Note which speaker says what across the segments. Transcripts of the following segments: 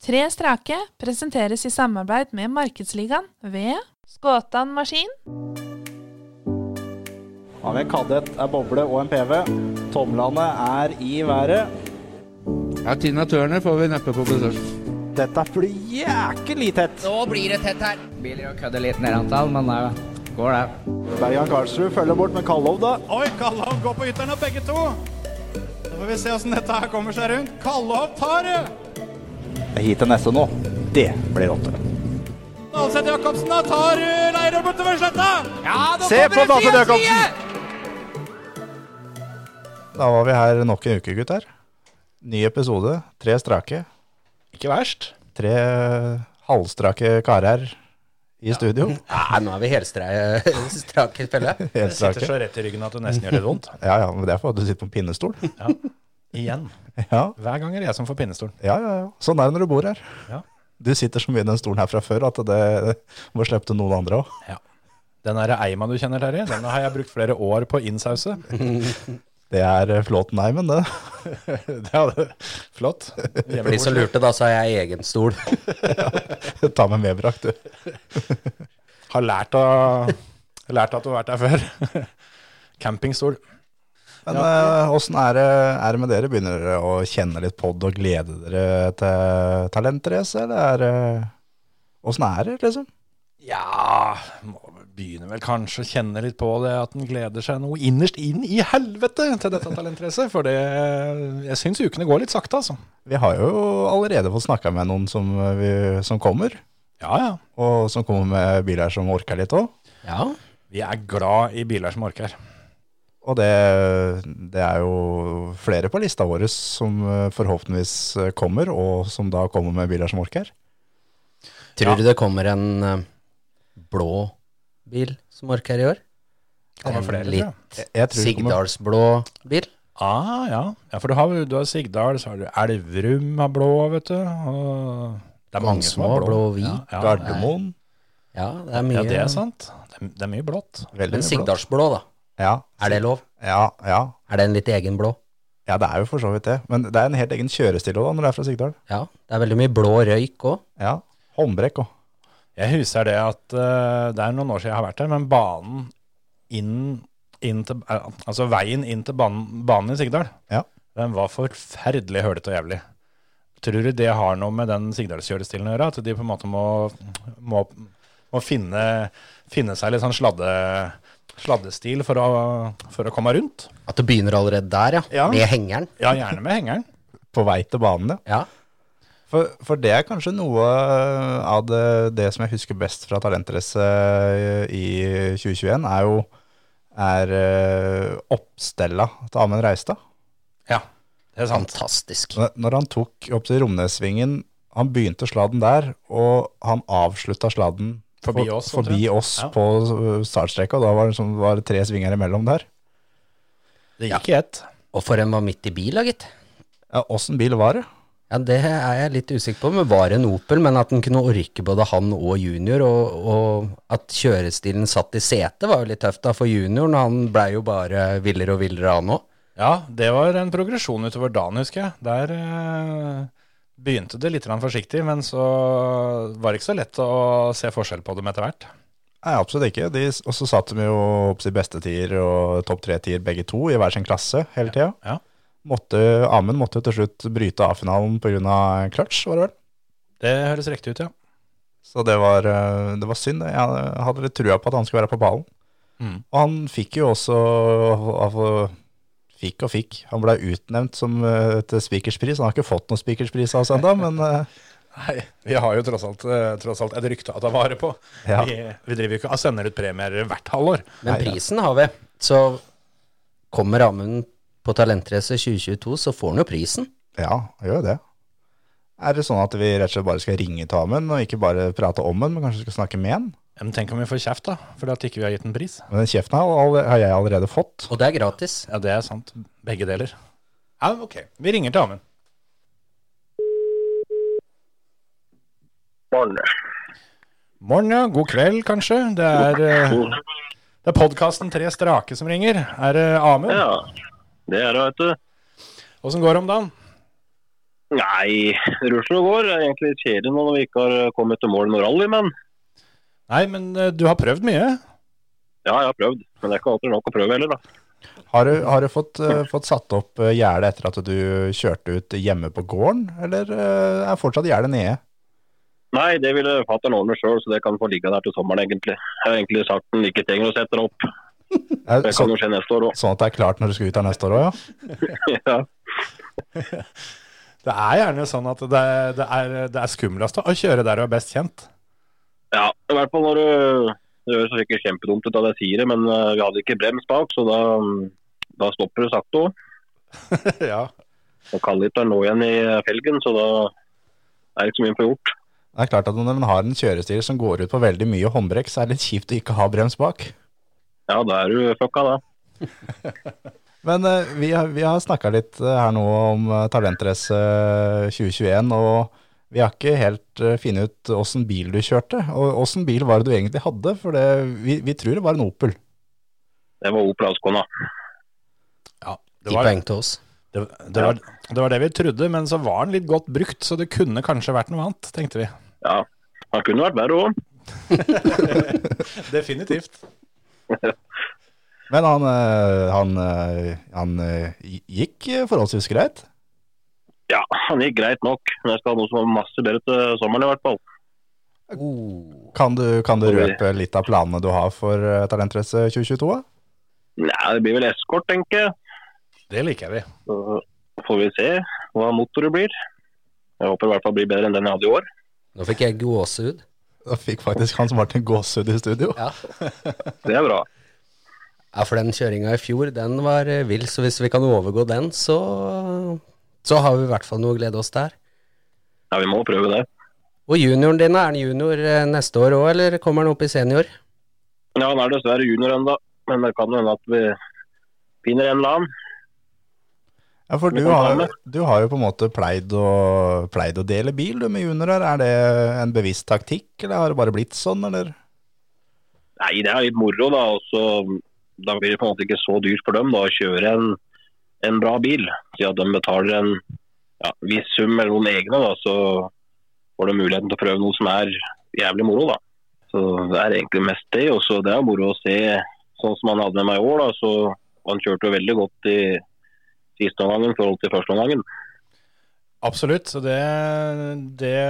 Speaker 1: Tre strake presenteres i samarbeid med Markedsligaen ved Skåtan Maskin.
Speaker 2: Har vi en kadett, en boble og en PV. Tomlene er i været.
Speaker 3: Ja, Tina Turner får vi neppe på besøk.
Speaker 2: Dette blir jækelig tett.
Speaker 4: Nå blir det tett her. Biler og kødder litt nedantall, men det går det.
Speaker 2: Bergan Karlsrud følger bort med Kallov, da.
Speaker 5: Oi, Kallov går på ytteren og begge to. Da får vi se åssen dette her kommer seg rundt. Kallov tar det!
Speaker 2: Hit til neste nå. Det blir åtte.
Speaker 5: Dalseth Jacobsen da tar eh, Leirøy bortover sletta. Ja, da
Speaker 2: Se på Dalseth Jacobsen!
Speaker 6: Da var vi her nok en uke, gutter. Ny episode. Tre strake.
Speaker 7: Ikke verst.
Speaker 6: Tre halvstrake karer i studio.
Speaker 7: Nei, nå er vi helstrake felle.
Speaker 6: Helt
Speaker 8: Sitter
Speaker 6: strake.
Speaker 8: så rett i ryggen at du nesten gjør litt vondt.
Speaker 6: Ja, ja, men det er fordi du sitter på en pinnestol.
Speaker 8: Igjen.
Speaker 6: Ja,
Speaker 8: Hver gang er det jeg som får pinnestolen.
Speaker 6: ja, ja. ja. Sånn er det når du bor her.
Speaker 8: Ja.
Speaker 6: Du sitter så mye i den stolen her fra før at det må slippe til noen andre òg.
Speaker 8: Den der eima du kjenner, Terje, den har jeg brukt flere år på å innsause.
Speaker 6: Det er Flåtenheimen, det.
Speaker 8: Det hadde Flott. Hjemme
Speaker 7: For de som
Speaker 8: bort.
Speaker 7: lurte, da, så har jeg egen stol.
Speaker 6: Ta med medbrakt, du.
Speaker 8: Har lært, av, lært at du har vært der før. Campingstol.
Speaker 6: Men eh, åssen er, det, er det med dere? Begynner dere å kjenne litt på det og glede dere til talentrace, eller er Åssen er det, liksom?
Speaker 8: Ja må Begynner vel kanskje å kjenne litt på det at en gleder seg noe innerst inn i helvete til dette talentracet. For det, jeg syns ukene går litt sakte, altså.
Speaker 6: Vi har jo allerede fått snakka med noen som, eh, vi, som kommer,
Speaker 8: Ja, ja.
Speaker 6: og som kommer med biler som orker litt òg.
Speaker 7: Ja.
Speaker 8: Vi er glad i biler som orker.
Speaker 6: Og det, det er jo flere på lista vår som eh, forhåpentligvis eh, kommer, og som da kommer med biler som orker.
Speaker 7: Tror du det kommer en eh, blå bil som orker i år?
Speaker 8: Kommer
Speaker 7: En
Speaker 8: flere, tror jeg.
Speaker 7: litt
Speaker 6: Jeg- jeg tror det kommer-
Speaker 7: Sigdalsblå bil?
Speaker 8: Ah, ja. ja, for du har, du har Sigdal, så har du Elverum har blå, vet du. Og det er mange som
Speaker 7: Konsmo,
Speaker 8: har blå.
Speaker 7: blå og hvit.
Speaker 8: ja, ja,
Speaker 6: Gardermoen.
Speaker 7: Ja, det er
Speaker 8: nei.
Speaker 7: mye.
Speaker 8: Ja, det er sant. Det er, det er mye blått.
Speaker 6: Veldig mye
Speaker 7: Men
Speaker 6: blått.
Speaker 7: Sigdalsblå, da.
Speaker 6: Ja,
Speaker 7: Er det lov?
Speaker 6: ja, ja.
Speaker 7: Er det en litt egen blå?
Speaker 6: Ja, det er jo for så vidt det. Men det er en helt egen kjørestil også, da, når det er fra Sigdal.
Speaker 7: Ja. Det er veldig mye blå røyk òg.
Speaker 6: Ja. Håndbrekk òg.
Speaker 8: Jeg husker det at eh, det er noen år siden jeg har vært der, men banen inn, inn til, eh, altså veien inn til banen, banen i Sigdal,
Speaker 6: Ja.
Speaker 8: den var forferdelig hølete og jævlig. Tror du det har noe med den Sigdalskjørestilen å gjøre? At de på en måte må, må, må finne, finne seg litt sånn sladde, sladdestil for å, for å komme rundt?
Speaker 7: At det begynner allerede der, ja.
Speaker 8: Ja.
Speaker 7: Med hengeren.
Speaker 8: Ja, gjerne med hengeren.
Speaker 6: På vei til banen, ja.
Speaker 7: Ja.
Speaker 6: For, for det er kanskje noe eh, av det, det som jeg husker best fra Talentrace eh, i 2021, er jo er eh, oppstella til Amund Reistad.
Speaker 8: Ja, det er sant.
Speaker 7: Fantastisk.
Speaker 6: Når når han tok opp til Romnessvingen, han begynte sladden der, og han avslutta sladden
Speaker 8: Forbi oss,
Speaker 6: forbi
Speaker 8: omtrent.
Speaker 6: oss
Speaker 8: Ja.
Speaker 6: på startstreka. og Da var det, sånn- var det tre svinger imellom der.
Speaker 8: Det gikk i ett.
Speaker 7: Og for en var midt i bil, da, gitt.
Speaker 6: Ja, Åssen bil var det?
Speaker 7: Ja, Det er jeg litt usikker på, men var det en Opel? Men at den kunne orke både han og junior, og, og at kjørestilen satt i setet, var jo litt tøft da for junioren. Han blei jo bare villere og villere, han òg.
Speaker 8: Ja, det var en progresjon utover dagen, husker jeg. Der eh, begynte det litt grann forsiktig, men så var det ikke så lett å se forskjell på dem etter hvert.
Speaker 6: Nei, absolutt ikke. De, og så satt de jo opp til beste tier og topp tre tier begge to i hver sin klasse hele tida.
Speaker 8: Ja.
Speaker 6: Måtte, Amund måtte jo til slutt bryte A-finalen pga. clutch, var det vel.
Speaker 8: Det høres riktig ut, ja.
Speaker 6: Så det var, eh, det var synd. Jeg hadde litt trua på at han skulle være på ballen.
Speaker 8: Mm.
Speaker 6: Og han fikk jo også altså, Fikk og fikk. Han ble utnevnt som, eh, til speakerspris. Han har ikke fått noen speakerspris av oss ennå, men eh,
Speaker 8: Nei, vi har jo tross alt, eh, tross alt et rykte å ta vare på.
Speaker 6: Ja.
Speaker 8: Vi, vi driver jo ikke og sender ut premier hvert halvår.
Speaker 7: Men prisen har vi. Så kommer Amund på Talentrace 2022, så får han jo prisen.
Speaker 6: ja, han gjør jo det. Er det sånn at vi rett og slett bare skal ringe til Amund, og ikke bare prate om han, men kanskje skal snakke med han?
Speaker 8: Men tenk om vi får kjeft, da, fordi at ikke vi har gitt en pris.
Speaker 6: Men den kjeften har, all- har jeg allerede fått.
Speaker 7: Og det er gratis.
Speaker 8: Ja, det er sant. Begge deler. Ja, men ok. Vi ringer til Amund. Morgen. ja. God kveld, kanskje. Det er, eh, det er podkasten Tre strake som ringer. Er det Amund?
Speaker 9: Ja, det er det, vet du.
Speaker 8: Åssen går det om dagen?
Speaker 9: Nei, det rusler og går. Det er egentlig litt kjedelig nå når vi ikke har kommet til mål med rally, men
Speaker 8: Nei, men eh, du har prøvd mye.
Speaker 9: ja, jeg har prøvd. Men det er ikke alltid nok å prøve heller, da.
Speaker 6: Har du, har du fått, eh, fått satt opp eh, gjerdet etter at du kjørte ut hjemme på gården, eller eh, er fortsatt gjerdet nede?
Speaker 9: Nei, det ville fatter'n ordne sjøl, så det kan få ligge der til sommeren, egentlig. Jeg har egentlig sagt han ikke trenger å sette den opp.
Speaker 6: Er det
Speaker 9: Det kan
Speaker 6: Sånn,
Speaker 9: jo skje neste år òg.
Speaker 6: sånn at det er klart når du skal ut her neste år òg, ja?
Speaker 9: ja.
Speaker 8: Det er gjerne sånn at det, det er, det er skumlest å kjøre der du er best kjent.
Speaker 9: ja, i hvert fall når du Det høres sikkert kjempedumt ut at jeg sier det, men eh, vi hadde ikke brems bak, så da, da stopper det sakte òg.
Speaker 8: ja.
Speaker 9: Og kalliteren lå igjen i felgen, så da er det ikke så mye å få gjort.
Speaker 6: Det er klart at når en har en kjørestil som går ut på veldig mye håndbrekk, så er det litt kjipt å ikke ha brems bak.
Speaker 9: Ja, da er du fucka, da.
Speaker 6: Men eh, vi har, vi har snakka litt eh, her nå om eh, Talentrace eh, 2021, og vi har ikke helt eh, funnet ut åssen bil du kjørte. Og åssen bil var det du egentlig hadde? For det, vi, vi tror det var en Opel.
Speaker 9: Det var Opel Ascona.
Speaker 8: ja det,
Speaker 7: Ti
Speaker 8: var,
Speaker 7: poeng til oss.
Speaker 8: det, det, var, det var det vi trodde, men så var den litt godt brukt, så det kunne kanskje vært noe annet, tenkte vi.
Speaker 9: Ja, han kunne vært verre òg.
Speaker 8: Definitivt.
Speaker 6: Men han, eh, han, eh, han eh, gikk eh, forholdsvis greit.
Speaker 9: Ja, han gikk greit nok. Men jeg skal ha noe som er masse bedre til sommeren, i hvert fall.
Speaker 6: Kan du, kan du
Speaker 9: Oi.
Speaker 6: røpe litt av planene du har for eh, Talentrace 2022? da?
Speaker 9: Nei, det blir vel eskort, tenker jeg.
Speaker 8: Det liker vi.
Speaker 9: Så får vi se hva motoret blir. Jeg håper i hvert fall blir bedre enn den jeg hadde i år.
Speaker 7: Nå fikk jeg gåsehud.
Speaker 6: Da fikk faktisk Hans Martin gåsehud i studio.
Speaker 7: Ja.
Speaker 9: Det er bra.
Speaker 7: Ja, for den kjøringa i fjor, den var eh, vill, så hvis vi kan overgå den, så, så har vi i hvert fall noe å glede oss der.
Speaker 9: Ja, vi må prøve det.
Speaker 7: Og junioren din, er han junior eh, neste år òg, eller kommer han opp i senior?
Speaker 9: Ja, han er dessverre junior ennå, men det kan hende at vi finner en eller annen.
Speaker 6: Ja, for du
Speaker 9: kan ta
Speaker 6: har,
Speaker 9: med.
Speaker 6: du har jo på en måte pleid å, pleid å dele bil du, med juniorer. Er det en bevisst taktikk, eller har det bare blitt sånn, eller?
Speaker 9: Nei, det er litt moro, da. Og så da blir det på en måte ikke så dyrt for dem da, å kjøre en, en bra bil. Si at de betaler en ja, viss sum eller noen egne, da, så får de muligheten til å prøve noe som er jævlig moro. da. Så Det er egentlig mest det. og så Det er moro å se sånn som han hadde med meg i år. da, så Han kjørte jo veldig godt i siste omgangen i forhold til første omgangen.
Speaker 8: Absolutt. Så det, det,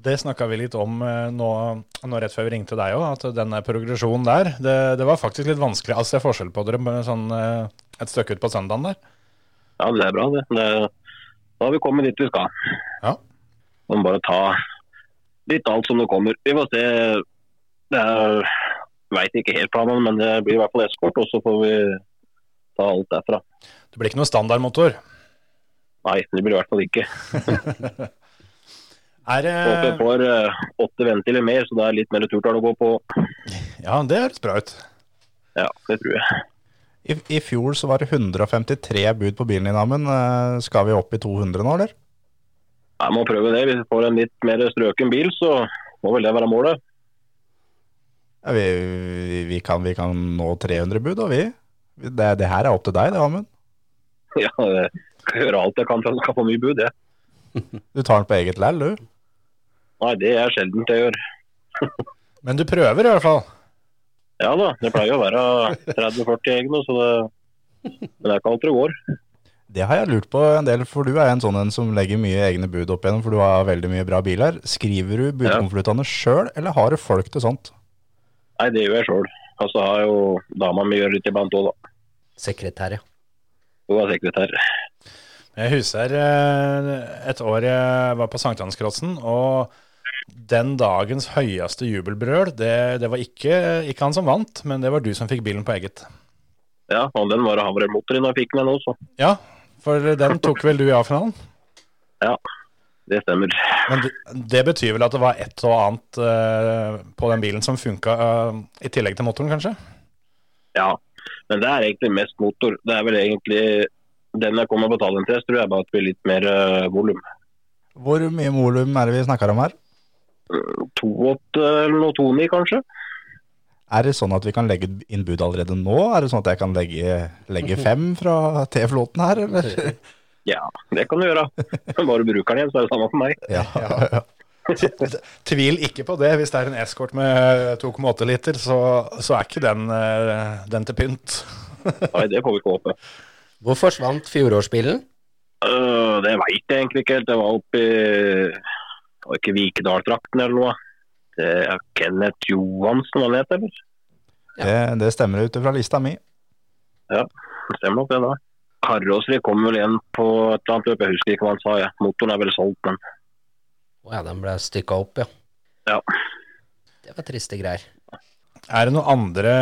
Speaker 8: det snakka vi litt om eh, nå, nå rett før vi ringte deg òg, at den der progresjonen der, det, det var faktisk litt vanskelig. Altså, jeg ser forskjell på dere med sånn, eh, et stykke ut på søndagen der.
Speaker 9: Ja, det er bra, det. det da har vi kommet dit vi skal.
Speaker 8: Ja.
Speaker 9: Må bare ta litt alt som det kommer. Vi får se. Det er Veit ikke helt planene, men det blir i hvert fall eskort, og så får vi ta alt derfra.
Speaker 8: Det blir ikke noe standardmotor.
Speaker 9: Nei, det blir i hvert fall ikke.
Speaker 8: Er,
Speaker 9: Håper vi
Speaker 8: det-
Speaker 9: får eh, åtte ventiler mer, så det er litt mer turtall å gå på.
Speaker 8: ja, det høres bra ut.
Speaker 9: Ja, det tror jeg.
Speaker 6: I, I fjor så var det 153 bud på bilen din, Amund. Eh, Skal vi opp i 200 nå, eller?
Speaker 9: Jeg må prøve det. Hvis vi får en litt mer strøken bil, så må vel det være målet.
Speaker 6: Ja, vi, vi, vi, kan, vi kan nå 300 bud, og vi. Det, det her er opp til deg, det, Amund.
Speaker 9: Ja, jeg skal gjøre alt jeg kan for at jeg skal få mye bud, jeg.
Speaker 6: Du tar den på eget læll, du.
Speaker 9: Nei, det er sjelden jeg gjør.
Speaker 8: Men du prøver i hvert fall.
Speaker 9: Ja da, det pleier å være 30-40 egne, så det Men det er ikke alt det går.
Speaker 6: Det har jeg lurt på en del, for du er en sånn en som legger mye egne bud opp igjennom, for du har veldig mye bra biler. Skriver du budkonvoluttene sjøl, eller har du folk til sånt?
Speaker 9: Nei, det gjør jeg sjøl. Og så har jo dama mi gjør litt iblant òg, da.
Speaker 7: Sekretær, ja.
Speaker 9: Hun er sekretær.
Speaker 8: Jeg husker eh, et år jeg var på Sankthanskrossen, og den dagens høyeste jubelbrøl, det, det var ikke, ikke han som vant, men det var du som fikk bilen på eget.
Speaker 9: Ja, og den var havremotor i da jeg fikk den nå, så.
Speaker 8: Ja, for den tok vel du i A-finalen?
Speaker 9: Ja, det stemmer.
Speaker 8: Men det, det betyr vel at det var et og annet eh, på den bilen som funka eh, i tillegg til motoren, kanskje?
Speaker 9: Ja. Men det er egentlig mest motor. Det er vel egentlig den jeg kommer på talentrest, tror jeg bare at det blir litt mer uh, volum.
Speaker 6: Hvor mye volum er det vi snakker om her?
Speaker 9: 2,8 eller noe 2,9 kanskje?
Speaker 6: Er det sånn at vi kan legge inn bud allerede nå? Er det sånn at jeg kan legge, legge fem fra T-flåten her, eller?
Speaker 9: Ja, det kan du gjøre. Bare du bruker den igjen, så er det samme for meg.
Speaker 6: Ja.
Speaker 8: Tvil ikke på det. Hvis det er en eskort med 2,8 liter, så, så er ikke den, eh, den til pynt.
Speaker 9: Nei, det får vi ikke håpe.
Speaker 7: Hvor forsvant fjorårsbilen?
Speaker 9: Øh, det veit jeg egentlig ikke helt. Jeg var oppe i var det ikke Vikedal-trakten eller noe. Det er Kenneth Johansen hva han heter, eller?
Speaker 6: Det, det stemmer ut fra lista mi.
Speaker 9: Det Stemmer nok det, da. Karosserie kom vel igjen på et eller annet løp, jeg husker ikke hva han sa. Jeg. Motoren er vel solgt, men
Speaker 7: Å ja, den ble stykka opp, ja.
Speaker 9: Ja.
Speaker 7: Det var triste greier.
Speaker 8: Er det noen andre,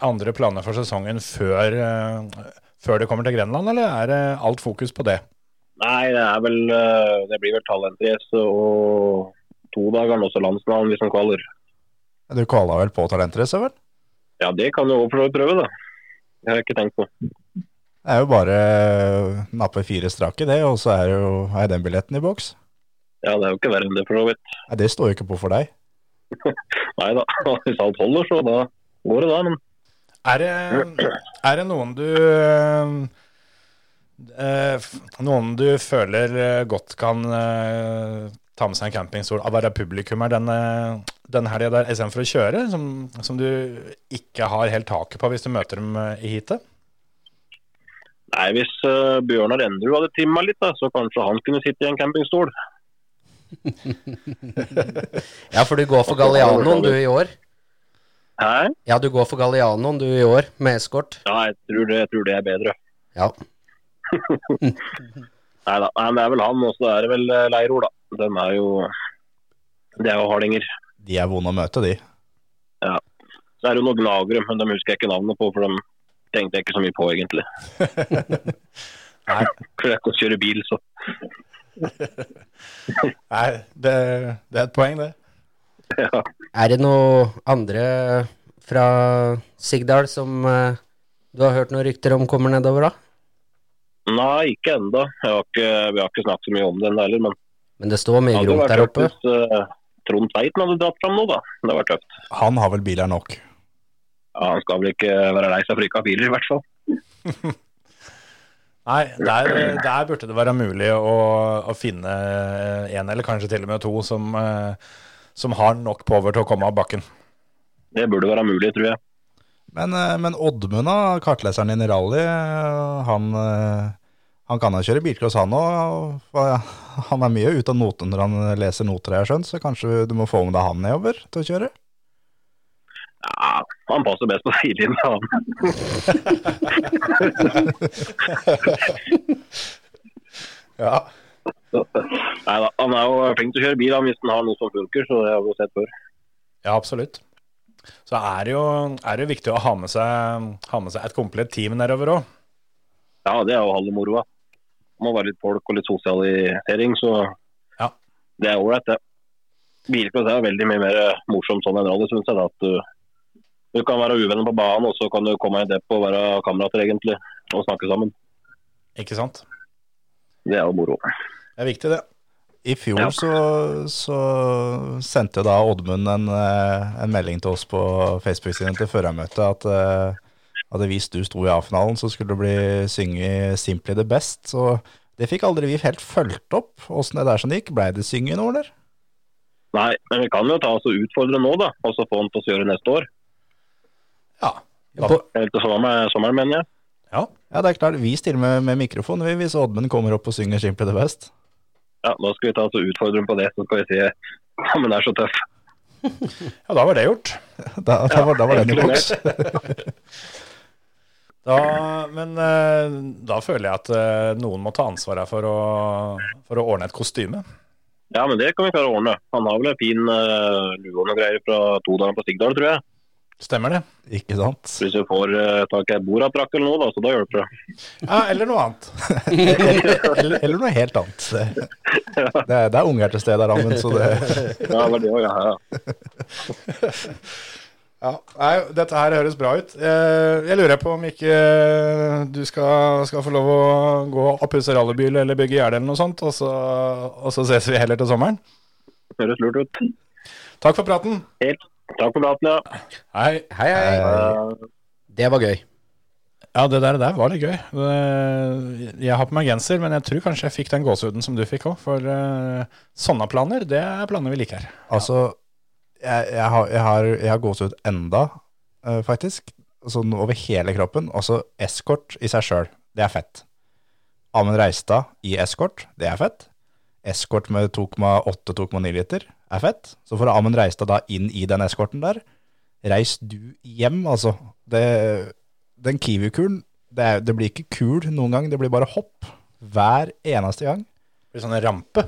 Speaker 8: andre planer for sesongen før, eh, før det kommer til Grenland, eller er det alt fokus på det?
Speaker 9: Nei, det er vel øh, Det blir vel talentrace og to dager, og også landsnavn hvis han kvaler.
Speaker 6: Du kvala vel på talentrace, vel?
Speaker 9: Ja, det kan du òg prøve, da. Det har jeg ikke tenkt på.
Speaker 6: Det er jo bare å nappe fire strake, det, og så er jo er den billetten i boks.
Speaker 9: Ja, det er jo ikke verre enn det, for så vidt.
Speaker 6: Nei, det står jo ikke på for deg.
Speaker 9: Nei da, hvis alt holder, så da går det, da. Men
Speaker 8: Er det, er det noen du eh, f- Noen du føler eh, godt kan eh, ta med seg en campingstol av å være publikummer denne, denne helga der, istedenfor å kjøre, som, som du ikke har helt taket på hvis du møter dem eh, i heatet?
Speaker 9: Nei, Hvis eh, Bjørnar Endrud hadde trimma litt, da, så kanskje han kunne sitte i en campingstol.
Speaker 7: Ja, for du går for Gallianoen du i år.
Speaker 9: Hæ?
Speaker 7: Ja, du går for Gallianoen du i år, med eskort.
Speaker 9: Ja, jeg tror det, jeg tror det er bedre.
Speaker 7: Ja.
Speaker 9: Nei da, nei, men det er vel han, og så er det vel eh, Leirol, da. Den er jo Det er jo hardinger.
Speaker 6: De er vonde å møte, de.
Speaker 9: Så er det jo noen gnagere, men dem husker jeg ikke navnet på, for dem tenkte jeg ikke så mye på, egentlig.
Speaker 8: Nei.
Speaker 9: For jeg kan kjøre bil, så.
Speaker 8: Nei, det, det er et poeng, det.
Speaker 9: Ja.
Speaker 7: Er det noe andre fra Sigdal som eh, du har hørt noen rykter om kommer nedover, da?
Speaker 9: Nei, ikke ennå. Vi har ikke snakket så mye om den heller, men
Speaker 7: Men det står mye
Speaker 9: det
Speaker 7: gromt
Speaker 9: vært
Speaker 7: der
Speaker 9: tøft
Speaker 7: oppe.
Speaker 9: hvis eh, Trond Tveiten hadde dratt fram nå, da. Det hadde vært tøft.
Speaker 6: Han har vel biler nok.
Speaker 9: Ja, Han skal vel ikke være lei seg for ikke å ha biler, i hvert fall.
Speaker 8: Nei, der, der burde det være mulig å, å finne en eller kanskje til og med to som, eh, som har nok power til å komme av bakken.
Speaker 9: Det burde være mulig, tror jeg.
Speaker 6: Men, eh, men Oddmund, da, kartleseren din i rally, eh, han, eh, han kan jo kjøre bilcross, han òg. Han er mye ute av noten når han leser noter, jeg har skjønt, så kanskje du må få med deg han nedover til å kjøre?
Speaker 9: Ja, han passer best på sidelinja, han.
Speaker 8: Ja,
Speaker 9: Nei da, han er jo flink til å kjøre bil han, hvis han har noe som funker, så det har vi jo sett før.
Speaker 8: Ja, absolutt. Så er det jo, er det jo viktig å ha med, seg, ha med seg et komplett team nedover òg.
Speaker 9: Ja, det er jo halve moroa. Må være litt folk og litt sosialisering, så
Speaker 8: Ja.
Speaker 9: det er ålreit, det. Bilcross er jo veldig mye mer morsomt sånn enn rally, syns jeg. da, At du, du kan være uvenner på banen, og så kan du komme i depp og være kamerater, egentlig, og snakke sammen.
Speaker 8: Ikke sant?
Speaker 9: Det er jo moro.
Speaker 8: Det er viktig, det.
Speaker 6: I fjor
Speaker 9: Ja.
Speaker 6: så, så sendte da Oddmund en, eh, en melding til oss på Facebook-siden til førermøtet at, eh, at hvis du sto i A-finalen, så skulle du bli synge 'Simply the Best'. Så det fikk aldri vi helt fulgt opp, åssen det der som det gikk. Blei det synging nå, eller?
Speaker 9: Nei, men vi kan jo ta oss og utfordre nå, da. Og så få han til å gjøre det neste år.
Speaker 8: Ja. Da,
Speaker 7: På-
Speaker 9: Eller til sommeren, sommeren mener jeg.
Speaker 8: ja.
Speaker 6: Ja, det er klart. Vi stiller med, med mikrofon vi, hvis Oddmund kommer opp og synger 'Simply the Best'.
Speaker 9: Ja, Da skal vi ta oss og utfordre ham på det, så skal vi se om han er så tøff.
Speaker 8: ja, da var det gjort.
Speaker 6: Da, da, var, da var den i
Speaker 9: helt
Speaker 6: boks.
Speaker 8: Da, men eh, da føler jeg at eh, noen må ta ansvaret for å, for å ordne et kostyme.
Speaker 9: Ja, men det kan vi klare å ordne. Han har vel en fin uh, lue og noe greier fra to dager på Stigdal, tror jeg.
Speaker 8: Stemmer det?
Speaker 6: Ikke sant?
Speaker 9: Hvis vi får eh, tak i ei bordattrakt eller noe, da, så da hjelper det.
Speaker 8: Ja, eller noe annet.
Speaker 6: Eller, eller noe helt annet. Det, det, er- det er unger til stede her, Amund, så det
Speaker 9: Ja, vel, det, også, ja, ja.
Speaker 8: Ja, nei, Dette her høres bra ut. Eh, Jeg lurer på om ikke eh, du skal, skal få lov å gå og pusse rallybil eller bygge gjerde eller noe sånt, og så, og så ses vi heller til sommeren.
Speaker 9: Høres lurt ut.
Speaker 8: Takk for praten.
Speaker 9: Helt. Takk for praten, ja.
Speaker 8: Hei.
Speaker 7: Hei, hei.
Speaker 9: Eh,
Speaker 7: Det var gøy.
Speaker 8: Ja, det der, det der var litt gøy. Det- Jeg har på meg genser, men jeg tror kanskje jeg fikk den gåsehuden som du fikk òg. For eh, sånne planer, det er planer vi liker.
Speaker 6: Altså, jeg, jeg har, jeg har, jeg har gåsehud enda, eh, faktisk. Sånn over hele kroppen. Altså, eskort i seg sjøl, det er fett. Amund Reistad i eskort, det er fett. Eskort med 2,8-2,9 liter er fett. Så får Amund Reistad da inn i den eskorten der. Reis du hjem, altså. Det, den Kiwi-kuren, det, er- det blir ikke kul noen gang, det blir bare hopp. Hver eneste gang.
Speaker 8: Litt sånn rampe.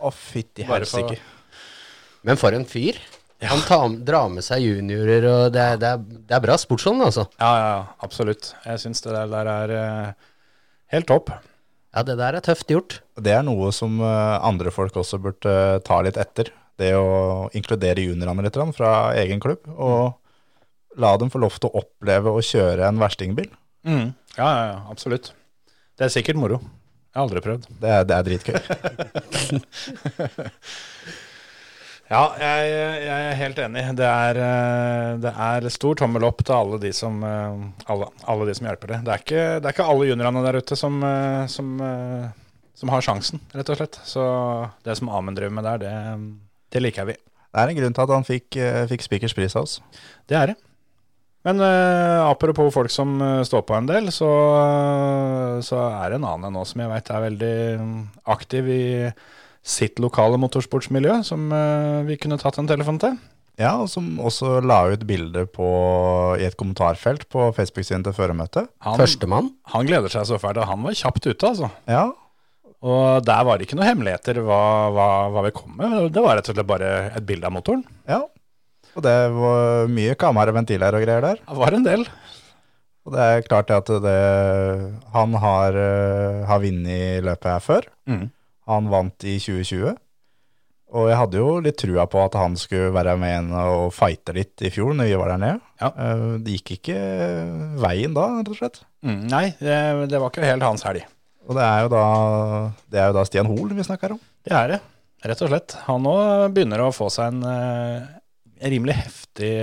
Speaker 6: Å, fytti
Speaker 8: Bare for-
Speaker 6: helsike.
Speaker 7: Men for en fyr. Han tar, drar med seg juniorer, og det er, det er, det er bra sportsånd, altså.
Speaker 8: Ja, ja, ja, absolutt. Jeg syns det der, der er eh, helt topp.
Speaker 7: Ja, det der er tøft gjort.
Speaker 6: Det er noe som eh, andre folk også burde eh, ta litt etter. Det å inkludere juniorene litt grann fra egen klubb, og la dem få lov til å oppleve å kjøre en verstingbil.
Speaker 8: Mm. Ja, ja, ja, absolutt. Det er sikkert moro. Jeg har aldri prøvd.
Speaker 6: Det er, det er dritgøy.
Speaker 8: Ja, jeg, jeg er helt enig. Det er, eh, det er stor tommel opp til alle de som, eh, alle, alle de som hjelper det. Det er ikke, det er ikke alle juniorene der ute som, eh, som, eh, som har sjansen, rett og slett. Så det som Amund driver med der, det, det liker vi.
Speaker 6: Det er en grunn til at han fikk, eh, fikk Spikers pris av oss.
Speaker 8: Det er det. Men eh, apropos folk som eh, står på en del, så, eh, så er det en annen enn oss som jeg veit er veldig mm, aktiv i sitt lokale motorsportsmiljø, som eh, vi kunne tatt en telefon til.
Speaker 6: Ja, og som også la ut bilde på, i et kommentarfelt på Facebook-siden til føremøtet.
Speaker 8: Han,
Speaker 7: Førstemann.
Speaker 8: han gleder seg så fælt, og han var kjapt ute, altså.
Speaker 6: Ja,
Speaker 8: Og der var det ikke noen hemmeligheter hva, hva, hva vi kom med. Det var rett og slett bare et bilde av motoren.
Speaker 6: ja. Og det var mye kammer og ventiler og greier der.
Speaker 8: Det var en del.
Speaker 6: Og det er klart det at det, han har, eh, har vunnet løpet her før.
Speaker 8: Mhm.
Speaker 6: Han vant i 2020. Og jeg hadde jo litt trua på at han skulle være med igjen og fighte litt i fjor når vi var der nede.
Speaker 8: Ja.
Speaker 6: Eh, Det gikk ikke veien da, rett og slett.
Speaker 8: Mm, nei, det, det var ikke helt hans helg.
Speaker 6: Og det er jo da, det er jo da Stian Hoel vi snakker om.
Speaker 8: Det er det, rett og slett. Han òg begynner å få seg en eh, rimelig heftig,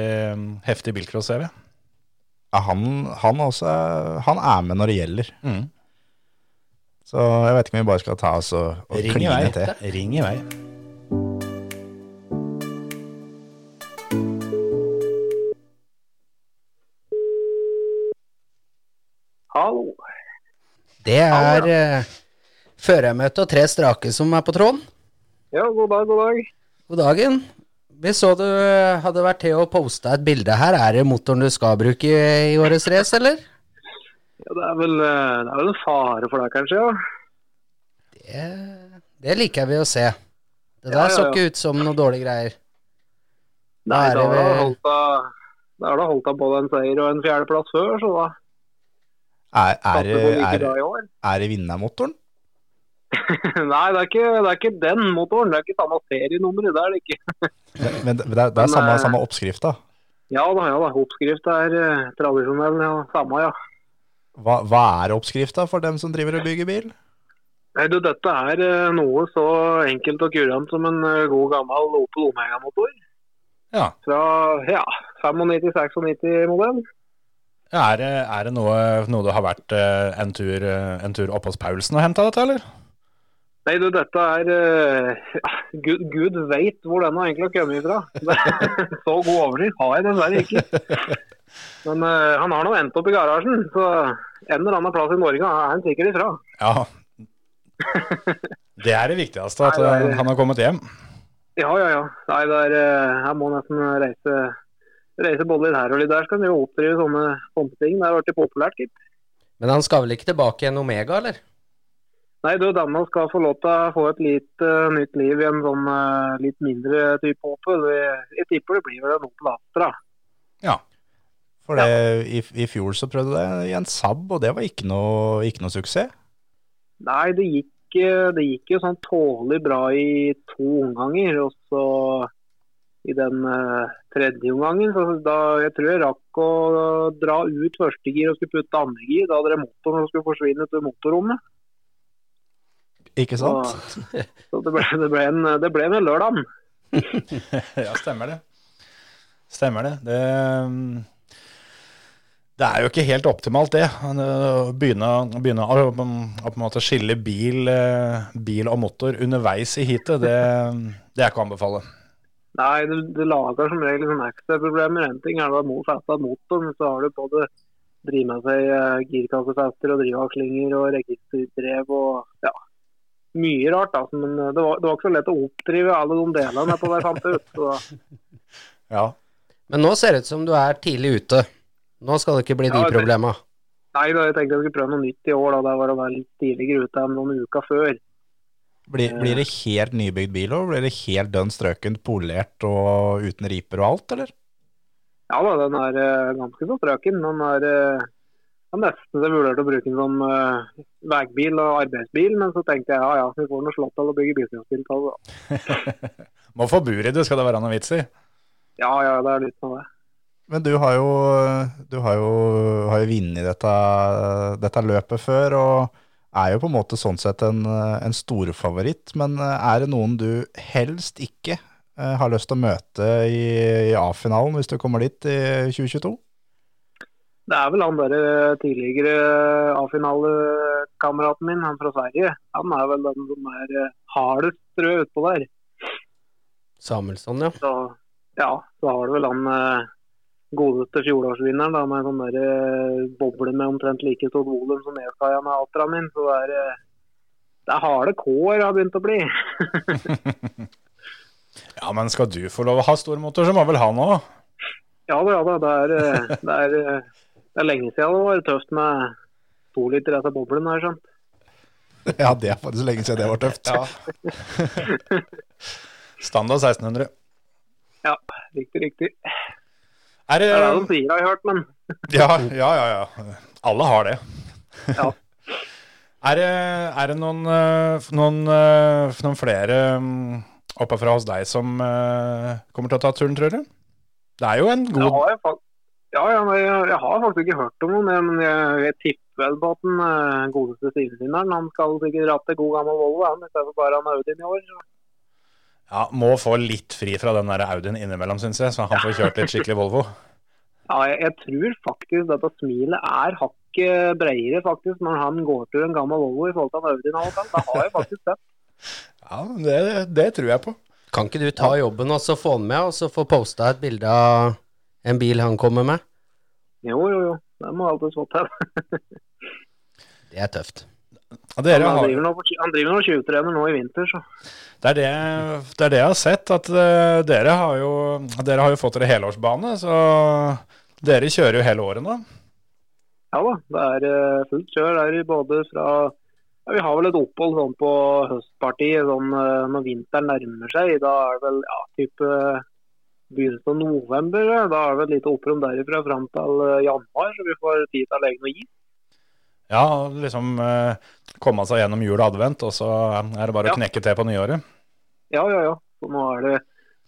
Speaker 8: heftig bilcross-CV.
Speaker 6: Ja, han, han, også, er- han er med når det gjelder.
Speaker 8: Mm.
Speaker 6: Så jeg vet ikke om vi bare skal ta oss og, og
Speaker 8: Ring i
Speaker 6: kline
Speaker 8: vei.
Speaker 6: til.
Speaker 8: Ring i vei.
Speaker 9: Hallo.
Speaker 7: Det er eh, førermøte og tre strake som er på tråden.
Speaker 9: Ja, god dag, god dag.
Speaker 7: God dagen. Vi så du eh, hadde vært til å poste et bilde her. Er det motoren du skal bruke i, i årets race, eller?
Speaker 9: Ja, det, er vel, eh, det er vel en fare for det, kanskje? ja.
Speaker 7: Det, det liker vi å se. Det der
Speaker 9: Ja, ja,
Speaker 7: så
Speaker 9: ja.
Speaker 7: ikke ut som noen dårlige greier.
Speaker 9: Nei,
Speaker 7: Da er
Speaker 9: da
Speaker 7: det
Speaker 9: har
Speaker 7: vel-
Speaker 9: det holdt av da har det holdt av både en seier og en fjerdeplass før, så da
Speaker 6: Er, er,
Speaker 9: satser vi på like
Speaker 6: er,
Speaker 9: bra i år.
Speaker 6: er det vinnermotoren?
Speaker 9: Nei, det er, ikke, det er ikke den motoren. Det er ikke samme serienummeret. Det er det ikke.
Speaker 6: Men- Men det, det er, det er samme,
Speaker 9: eh,
Speaker 6: samme oppskrift da.
Speaker 9: Ja da, ja da. Oppskrift er eh, tradisjonell. Ja, samme, ja.
Speaker 6: Hva, hva er oppskrifta for dem som driver og bygger bil?
Speaker 9: Nei, du, dette er eh, noe så enkelt og kurant som en eh, god gammel Opel Omega-motor.
Speaker 8: Ja.
Speaker 9: Fra ja, 95-96-modell.
Speaker 8: Er, det- er det noe, noe du har vært eh, en tur, eh, en tur oppe hos Paulsen og henta dette, eller?
Speaker 9: Nei, du, dette er eh, ja, Gud, Gud veit hvor denne egentlig har kommet ifra. Det- så god oversikt har jeg dessverre ikke. Men eh, han har nå endt opp i garasjen, så en eller annen plass i Norge er han sikkert ifra.
Speaker 8: Ja. Det er det viktigste, at
Speaker 9: Nei,
Speaker 8: eh,
Speaker 9: nei.
Speaker 8: han har kommet hjem.
Speaker 9: Ja, ja, ja. Nei, det er, eh, jeg må nesten reise, reise både litt her og litt der. Skal en jo oppdrive sånne, sånne ting. Det har blitt populært, gitt.
Speaker 7: Men han skal vel ikke tilbake i en Omega, eller?
Speaker 9: Nei, du, denne skal få lov til å få et litt eh, nytt liv i en sånn eh, litt mindre type Opel. Jeg, jeg tipper det blir vel en Opel Astra.
Speaker 6: For det, i, i fjor så prøvde det i en Saab, og det var ikke noe, ikke noe suksess.
Speaker 9: Nei, det gikk, eh, det gikk jo sånn tålelig bra i to omganger. Og så i den eh, tredje omgangen, så da jeg tror jeg rakk å dra ut første gir og skulle putte andre gir. Da hadde det motoren som skulle forsvinne til motorrommet.
Speaker 6: Ikke
Speaker 9: Så,
Speaker 6: sant?
Speaker 9: så det, ble, det, ble en, det ble en lørdag.
Speaker 8: Ja, stemmer det. Stemmer det. det mm, Det er jo ikke helt optimalt, det. Han, øh, Å begynne, begynne å, å på en måte skille bil, øh, bil og motor underveis i heatet, det, det er ikke å anbefale.
Speaker 9: Nei, du, du lager som regel sånne ekstraproblemer. En ting er da mot festet motor, men så har du både drive med seg eh, girkassefester og drivakslinger og registerdrev og ja, mye rart. da. Men eh, det var, det var ikke så lett å oppdrive alle de delene på hver fant ut. Så
Speaker 8: Ja.
Speaker 7: Men nå ser det ut som du er tidlig ute. Nå skal det ikke bli de
Speaker 9: Ja, det-
Speaker 7: problema.
Speaker 9: nei, da, jeg tenkte jeg skulle prøve noe nytt i år. da, Det var å være litt tidligere ute enn noen uker før.
Speaker 6: Blir, blir det helt nybygd bil òg? Blir det helt dønn strøkent, polert og uten riper og alt, eller?
Speaker 9: Ja da, den er eh, ganske så strøken. Den er eh, jeg nesten så jeg vurderte å bruke den som eh, veibil og arbeidsbil, men så tenkte jeg ja ja, vi får nå slått til å bygge bistandstiltak. da.
Speaker 8: Må få bur i det, skal det være noe vits i.
Speaker 9: Ja ja, det er litt sånn det.
Speaker 6: Men du har jo, du har jo, har jo vunnet dette, dette løpet før, og er jo på en måte sånn sett en, en storfavoritt. Men eh, er det noen du helst ikke eh, har lyst til å møte i, i A-finalen hvis du kommer dit i 2022?
Speaker 9: Det er vel han der eh, tidligere A-finalekameraten min, han fra Sverige. Han er vel den som er eh, hardest strø utpå der.
Speaker 7: Samuelsson, ja.
Speaker 9: Så ja, så har du vel han eh, godeste fjorårsvinneren da, med sånn der eh, boble med omtrent like stort volum som Eskaja med Altraen min. Så det er, eh, det er harde kår har begynt å bli.
Speaker 8: Ja, men skal du få lov å ha stor motor, så må vel han òg.
Speaker 9: Ja da, ja da. Det er, eh, det er, eh, det er lenge siden det var tøft med to liter etter boblen, har jeg skjønt.
Speaker 6: Ja, det er faktisk lenge siden det var tøft.
Speaker 8: Standard 1600.
Speaker 9: Ja, riktig, riktig.
Speaker 8: Er det,
Speaker 9: Det er det de sier, har jeg hørt, men
Speaker 8: ja, ja, ja, ja. Alle har det.
Speaker 9: ja.
Speaker 8: Er det, er det noen, eh, f- noen, eh, f- noen flere mm, oppe fra hos deg som eh, kommer til å ta turen, tror du? Det er jo en
Speaker 9: Jeg
Speaker 8: god
Speaker 9: har jo fak- ja, ja, men jeg, jeg har faktisk ikke hørt om noen, men jeg, jeg tipper vel på at den eh, godeste stilevinneren han skal sikkert dra til god gammel Volvo, han, i stedet for bare han Audien i år. så.
Speaker 8: ja, Må få litt fri fra den der Audien innimellom, syns jeg, så han får kjørt litt skikkelig Volvo.
Speaker 9: Ja, jeg, jeg tror faktisk dette smilet er hakket bredere faktisk når han går til en gammel Volvo i forhold til han Audien. og alt annet. Det har jeg faktisk sett.
Speaker 8: Ja, det, det tror jeg på.
Speaker 7: Kan ikke du ta jobben og så få han med, og så få posta et bilde av en bil han kommer med?
Speaker 9: Jo, jo, jo. Det må alltid stå til.
Speaker 7: Det er tøft.
Speaker 8: Ja,
Speaker 9: Han
Speaker 8: dere har,
Speaker 9: driver nå på tju- han driver nå 20-trener nå i vinter, så.
Speaker 8: det, er det, det er det jeg har sett, at eh, dere har jo, dere har jo fått dere helårsbane, så dere kjører jo hele året nå.
Speaker 9: Ja da, det er eh, fullt kjør der i både fra ja, Vi har vel et opphold sånn på høstpartiet sånn, eh, når vinteren nærmer seg. Da er det vel ja, type eh, begynnelsen av november. ja. Da er det vel et lite opprom derifra fram til eh, januar, så vi får tid til å legge noe is.
Speaker 8: Ja, liksom eh, komme seg gjennom jul og advent, og så eh, er det bare
Speaker 9: Ja.
Speaker 8: å knekke til på nyåret.
Speaker 9: Ja, ja, ja. Så nå er det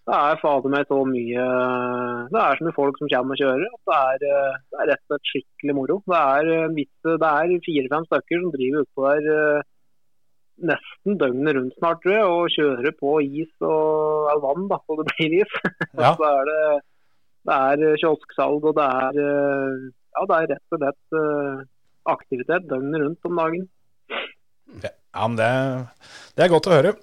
Speaker 9: det er fader meg så mye Det er så mye folk som kommer og kjører. at Det er, eh, det er rett og slett skikkelig moro. Det er, en viss- det er fire-fem stykker som driver utpå der eh, nesten døgnet rundt snart, tror jeg, og kjører på is og eller vann, da, så det blir is. Og
Speaker 8: Ja.
Speaker 9: så er det, det er eh, kiosksalg, og det er, eh, ja, det er rett og slett eh, aktivitet døgnet rundt om dagen.
Speaker 8: Ja, men det, det er godt å høre.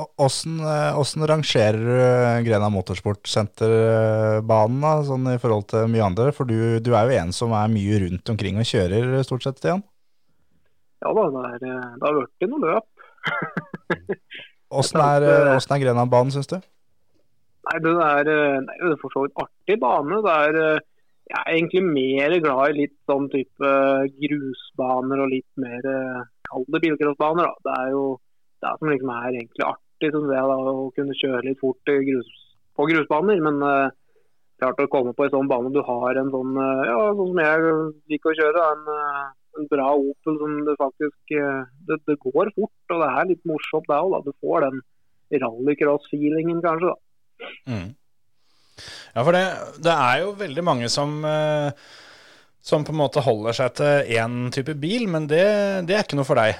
Speaker 6: Og- Åssen eh, åssen rangerer du eh, Grena Motorsportsenterbanen da, sånn i forhold til mye andre? For du, du er jo en som er mye rundt omkring og kjører eh, stort sett, Stian.
Speaker 9: Ja da, det, er, eh, det har blitt noe løp.
Speaker 6: Åssen er, eh, åssen er Grenland-banen, syns du?
Speaker 9: Nei, det er, eh, nei, det er for så vidt artig bane. Det er, eh, jeg er egentlig mer glad i litt sånn type grusbaner og litt mer eh, kalde bilcrossbaner. da. Det er jo det som liksom er egentlig artig, synes jeg, da, å kunne kjøre litt fort i grus, på grusbaner. Men eh, klart å komme på en sånn bane du har en sånn, eh, ja, sånn som jeg liker å kjøre, da, en, eh, en bra Opel som det faktisk eh, det, det går fort, og det er litt morsomt det òg. Du får den rallycross-feelingen kanskje. da.
Speaker 8: Mm. Ja, for det, det er jo veldig mange som, eh, som på en måte holder seg til én type bil, men det, det er ikke noe for deg.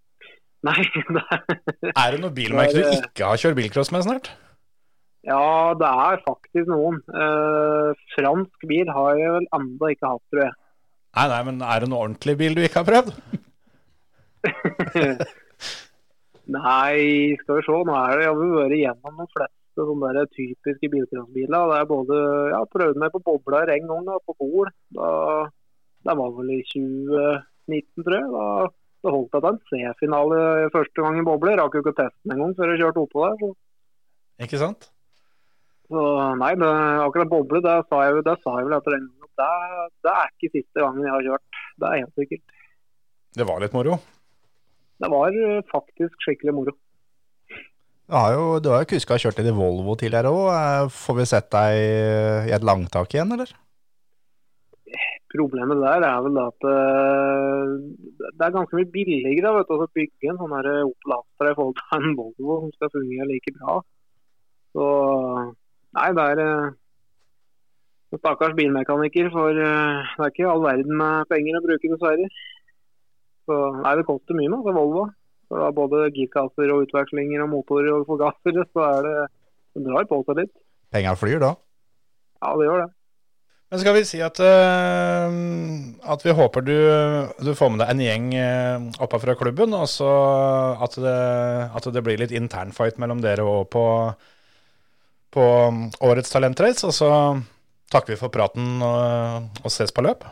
Speaker 9: Nei, det er-
Speaker 8: Er det noen bilmerker
Speaker 9: Det
Speaker 8: du
Speaker 9: er, eh,
Speaker 8: ikke har kjørt bilcross med snart?
Speaker 9: Ja, det er faktisk noen. Eh, fransk bil har jeg vel enda ikke hatt, tror jeg.
Speaker 8: Nei, nei, men er det noen ordentlig bil du ikke har prøvd?
Speaker 9: Nei, skal vi se. Nå er det, jeg har vært gjennom de fleste sånne der typiske bilcrossbiler. Det er både Jeg har prøvd meg på bobler en gang, da, på Gol. Da, det var vel i 2019, tror jeg. Da, det holdt jeg til en C-finale første gang i bobler. Rakk jo ikke å teste den engang før jeg kjørte oppå der. Så,
Speaker 8: Ikke sant?
Speaker 9: så nei, det, akkurat boble, det sa jeg, jo- det sa jeg vel etter den gangen. at Det, det er ikke siste gangen jeg har kjørt. Det er helt sikkert.
Speaker 8: Det var litt moro.
Speaker 9: Det var eh, faktisk skikkelig moro.
Speaker 6: Du har jo, du har jo kuska og kjørt litt i Volvo tidligere òg. Får vi sett deg eh, i et langtak igjen, eller?
Speaker 9: Problemet der er vel da at eh, det er ganske mye billigere da, vet du, å bygge en sånn her Opel Astra i forhold til en Volvo som skal fungere like bra. Så nei, det er eh, en stakkars bilmekaniker, for eh, det er ikke all verden med penger å bruke, dessverre. Så nei, det koster mye med altså, Volvo. Så det er både girkasser og utvekslinger og motorer og forgassere, så er det det drar på seg litt.
Speaker 6: Penga flyr da.
Speaker 9: Ja, det gjør det.
Speaker 8: Men skal vi si at, eh, at vi håper du, du får med deg en gjeng eh, oppa fra klubben, og så at det, at det blir litt internfight mellom dere òg på, på um, årets talentrace. Og så takker vi for praten og, og ses på løp.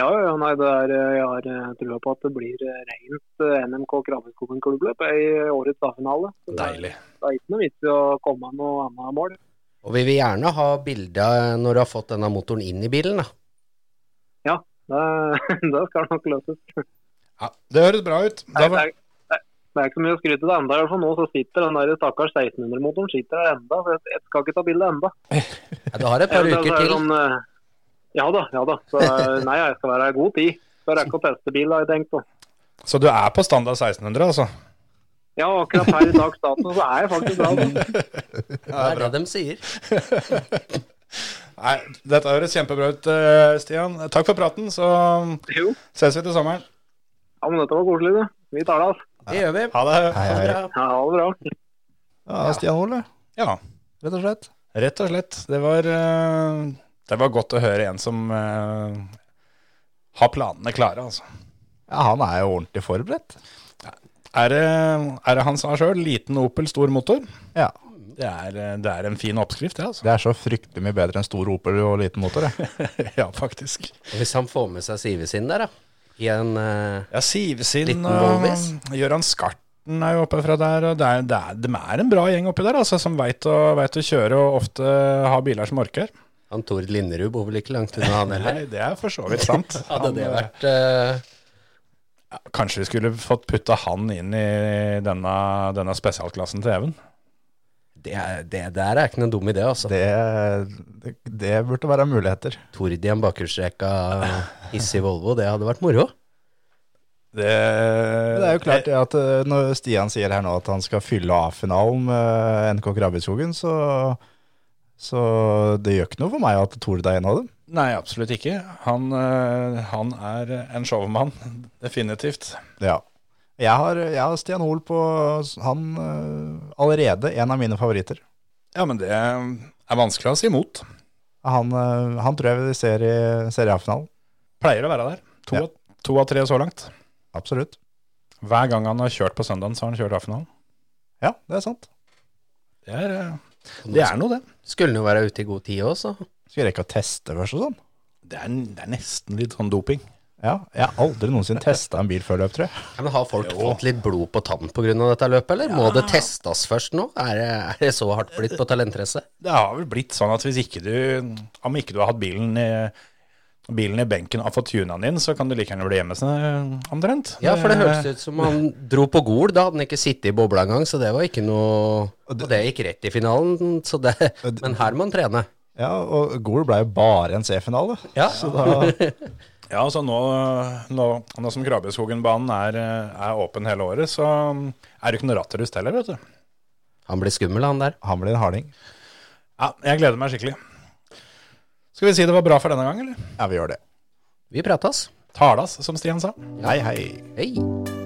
Speaker 9: Ja, ja, ja, nei, det er, eh, jeg har eh, trua på at det blir eh, rent eh, NMK Krabbeskoggen klubbløp i årets A-finale. Så det er-
Speaker 8: Deilig.
Speaker 9: Det er ikke noe vits i å komme med noe annet mål.
Speaker 7: Og vi vil gjerne ha bilde når du har fått denne motoren inn i bilen. da.
Speaker 9: Det, det skal nok løses.
Speaker 8: Ja, det høres bra ut.
Speaker 9: Nei,
Speaker 8: Da,
Speaker 9: det,
Speaker 8: var-
Speaker 9: er, det er- det er ikke så mye å skryte av ennå. For nå så sitter den der stakkars 1600-motoren sitter der enda, så jeg, jeg skal ikke ta bilde ennå.
Speaker 7: Ja, du har et par uker til.
Speaker 9: sånn, eh, ja da, ja da. Så, eh, nei, jeg skal være i god tid. Skal rekke å teste bil, har jeg tenkt. da.
Speaker 8: så du er på standard 1600, altså?
Speaker 9: Ja, akkurat her i dags dato så er jeg faktisk bra. da.
Speaker 7: Det er det de sier.
Speaker 8: Nei, dette høres kjempebra ut, eh, Stian. Takk for praten, så um,
Speaker 9: Jo.
Speaker 8: ses vi til sommeren.
Speaker 9: Ja, men dette var koselig, du. Vi tar det, altså.
Speaker 7: Det gjør vi.
Speaker 8: Ha det.
Speaker 6: Hei, hei.
Speaker 9: Ja, ha det bra.
Speaker 6: Ja, Stian Ole,
Speaker 8: Ja,
Speaker 6: rett og slett.
Speaker 8: rett og slett. Det var, eh, det var godt å høre en som eh, har planene klare, altså.
Speaker 6: Ja, han er jo ordentlig forberedt.
Speaker 8: Er det, er det han sa sjøl? Liten Opel, stor motor?
Speaker 6: Ja.
Speaker 8: Det er, eh, det er en fin oppskrift, det, altså.
Speaker 6: Det er så fryktelig mye bedre enn stor Opel og liten motor. Jeg.
Speaker 8: ja, faktisk.
Speaker 7: Og hvis han får med seg Sive sin der, da. I en eh,
Speaker 8: Ja, Sivesin
Speaker 7: Liten
Speaker 8: og
Speaker 7: Volvis.
Speaker 8: Gøran Skarten er jo oppe fra der. Og det er, det er, de er en bra gjeng oppi der, altså, som veit å, vet å kjøre og ofte har biler som orker.
Speaker 7: Han Tord Linderud bor vel ikke langt unna, han heller.
Speaker 8: Nei, det er for så vidt sant.
Speaker 7: Hadde
Speaker 8: Han,
Speaker 7: det
Speaker 8: eh,
Speaker 7: vært eh,
Speaker 8: kanskje vi skulle fått putta han inn i denne, denne spesialklassen til Even.
Speaker 7: det, er- det der er ikke noen dum idé, altså.
Speaker 6: Det, det burde være muligheter.
Speaker 7: Tord i en bakhjulstrekka hissig Volvo, det hadde vært moro.
Speaker 8: Det,
Speaker 6: Det er jo klart det at eh, når Stian sier her nå at han skal fylle A-finalen med eh, NK Krabbeskogen, så, så det gjør ikke noe for meg at Tord er en av dem.
Speaker 8: Nei, absolutt ikke. Han, eh, han er en showmann, definitivt.
Speaker 6: Ja. Jeg har, jeg har Stian Hoel på han eh, allerede en av mine favoritter.
Speaker 8: Ja, men det er vanskelig å si imot.
Speaker 6: Han, eh, han tror jeg vi ser i Serie A-finalen.
Speaker 8: Pleier å være der. To,
Speaker 6: Ja.
Speaker 8: av- to av tre så langt.
Speaker 6: Absolutt.
Speaker 8: Hver gang han har kjørt på søndagen, så har han kjørt A-finalen.
Speaker 6: Ja, det er sant.
Speaker 8: Det er, eh, det er noe, det.
Speaker 7: Skulle han jo være ute i god tid òg, så.
Speaker 6: Skal rekke å teste først og sånn.
Speaker 8: Det er, det er nesten litt sånn doping.
Speaker 6: Ja, jeg har aldri noensinne testa en bil før løp, tror jeg.
Speaker 7: Ja, men har folk fått litt blod på tann pga. dette løpet, eller? Må det testes først nå? Er det, er det så hardt blitt på talentrace?
Speaker 8: Det har vel blitt sånn at hvis ikke du, om ikke du har hatt bilen i, bilen i benken og fått tuna den inn, så kan du like gjerne bli hjemme sånn, omtrent.
Speaker 7: Ja, for det hørtes ut som han dro på Gol. Da hadde han ikke sittet i bobla engang, så det var ikke noe Og det gikk rett i finalen, så det Men her må han trene.
Speaker 6: Ja, og Gol ble jo bare en C-finale.
Speaker 7: Ja.
Speaker 6: Så da
Speaker 8: Ja, altså nå, nå, nå som Krabbeskogen-banen er, eh, er åpen hele året, så mm, er det ikke noe ratterust heller, vet du.
Speaker 7: Han blir skummel, han der.
Speaker 6: Han blir en harding.
Speaker 8: Ja, jeg gleder meg skikkelig. Skal vi si det var bra for denne gang, eller?
Speaker 6: Ja, vi gjør det.
Speaker 7: Vi prates.
Speaker 8: Talas, som Stian sa.
Speaker 6: Hei, hei.
Speaker 7: Hei.